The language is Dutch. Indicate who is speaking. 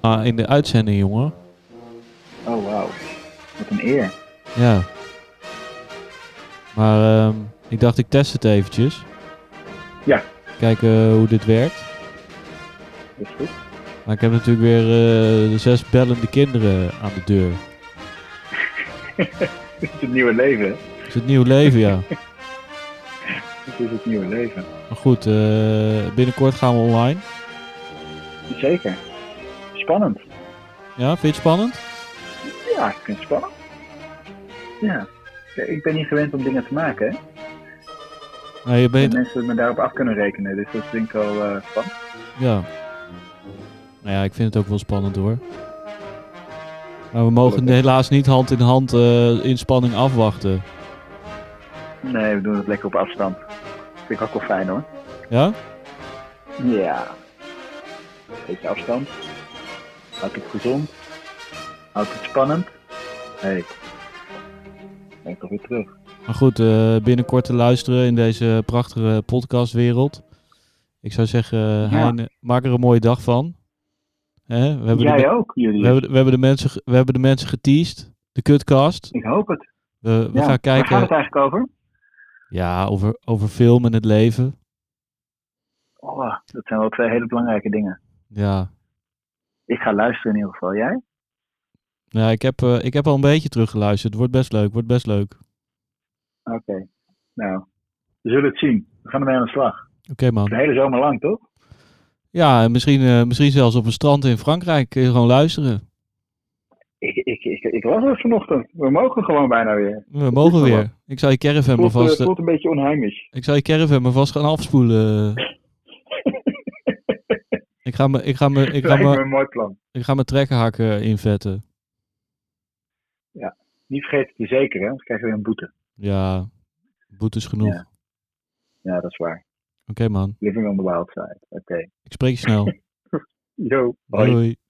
Speaker 1: ah, in de uitzending, jongen.
Speaker 2: Oh, wauw. Wat een eer.
Speaker 1: Ja. Maar ehm, ik dacht, ik test het eventjes.
Speaker 2: Ja.
Speaker 1: Kijken eh, hoe dit werkt.
Speaker 2: Dat is goed.
Speaker 1: Maar ik heb natuurlijk weer eh, de zes bellende kinderen aan de deur.
Speaker 2: Het is het nieuwe leven.
Speaker 1: Het is het nieuw leven, ja.
Speaker 2: Het is het nieuwe leven.
Speaker 1: Maar goed, eh, binnenkort gaan we online.
Speaker 2: Zeker. Spannend.
Speaker 1: Ja, vind je het spannend?
Speaker 2: Ja, ik vind het spannend. Ja. Ja, Ik ben niet gewend om dingen te maken. Hè?
Speaker 1: Nee, je
Speaker 2: En
Speaker 1: bent...
Speaker 2: mensen me daarop af kunnen rekenen. Dus dat vind ik al eh, spannend.
Speaker 1: Ja. Nou ja, ik vind het ook wel spannend hoor. Maar we mogen
Speaker 2: Gelukkig.
Speaker 1: helaas niet hand in hand eh in spanning afwachten.
Speaker 2: Nee, we doen het lekker op afstand. Vind ik ook wel fijn hoor.
Speaker 1: Ja?
Speaker 2: Ja. Beetje afstand. Houdt het gezond. Houdt het spannend. Hé. Hey. Ben ik toch weer terug.
Speaker 1: Maar goed, eh, binnenkort te luisteren in deze prachtige podcastwereld. Ik zou zeggen, eh,
Speaker 2: Ja.
Speaker 1: Hein, maak er een mooie dag van. Hè? We, hebben de,
Speaker 2: Jij
Speaker 1: me-
Speaker 2: ook, jullie.
Speaker 1: we, hebben, de- we, hebben de mensen, ge- we hebben de mensen geteased. De kutcast.
Speaker 2: Ik hoop het.
Speaker 1: We, we
Speaker 2: Ja.
Speaker 1: gaan
Speaker 2: Waar gaat
Speaker 1: kijken
Speaker 2: het eigenlijk over?
Speaker 1: ja, over, over film en het leven.
Speaker 2: Oh, dat zijn wel twee hele belangrijke dingen.
Speaker 1: Ja.
Speaker 2: Ik ga luisteren in ieder geval. Jij?
Speaker 1: Nou, ik, heb, eh, ik heb al een beetje teruggeluisterd. Wordt best leuk, wordt best leuk.
Speaker 2: Oké. Nou, we zullen het zien. We gaan ermee aan de slag.
Speaker 1: Oké man.
Speaker 2: De hele zomer lang, toch?
Speaker 1: Ja, en misschien, eh, misschien zelfs op een strand in Frankrijk kun je gewoon luisteren.
Speaker 2: Ik, ik, ik, ik was er vanochtend. We mogen gewoon bijna weer.
Speaker 1: We mogen
Speaker 2: wel
Speaker 1: weer. Ik zou je caravan maar
Speaker 2: Voelt, eh,
Speaker 1: vast,
Speaker 2: voelt een beetje onheimisch.
Speaker 1: ik zou je caravan maar vast gaan afspoelen. ik ga me, ik ga me, ik ga
Speaker 2: Lijkt me
Speaker 1: me,
Speaker 2: een mooi plan.
Speaker 1: ik ga me trekkerhakken invetten.
Speaker 2: Niet vergeten te zekeren, hè, anders krijg je weer een boete.
Speaker 1: Ja, boetes genoeg.
Speaker 2: Ja. Ja, dat is waar.
Speaker 1: Oké man,
Speaker 2: Living on the wild side. Oké.
Speaker 1: ik spreek je snel.
Speaker 2: Yo.
Speaker 1: Doei.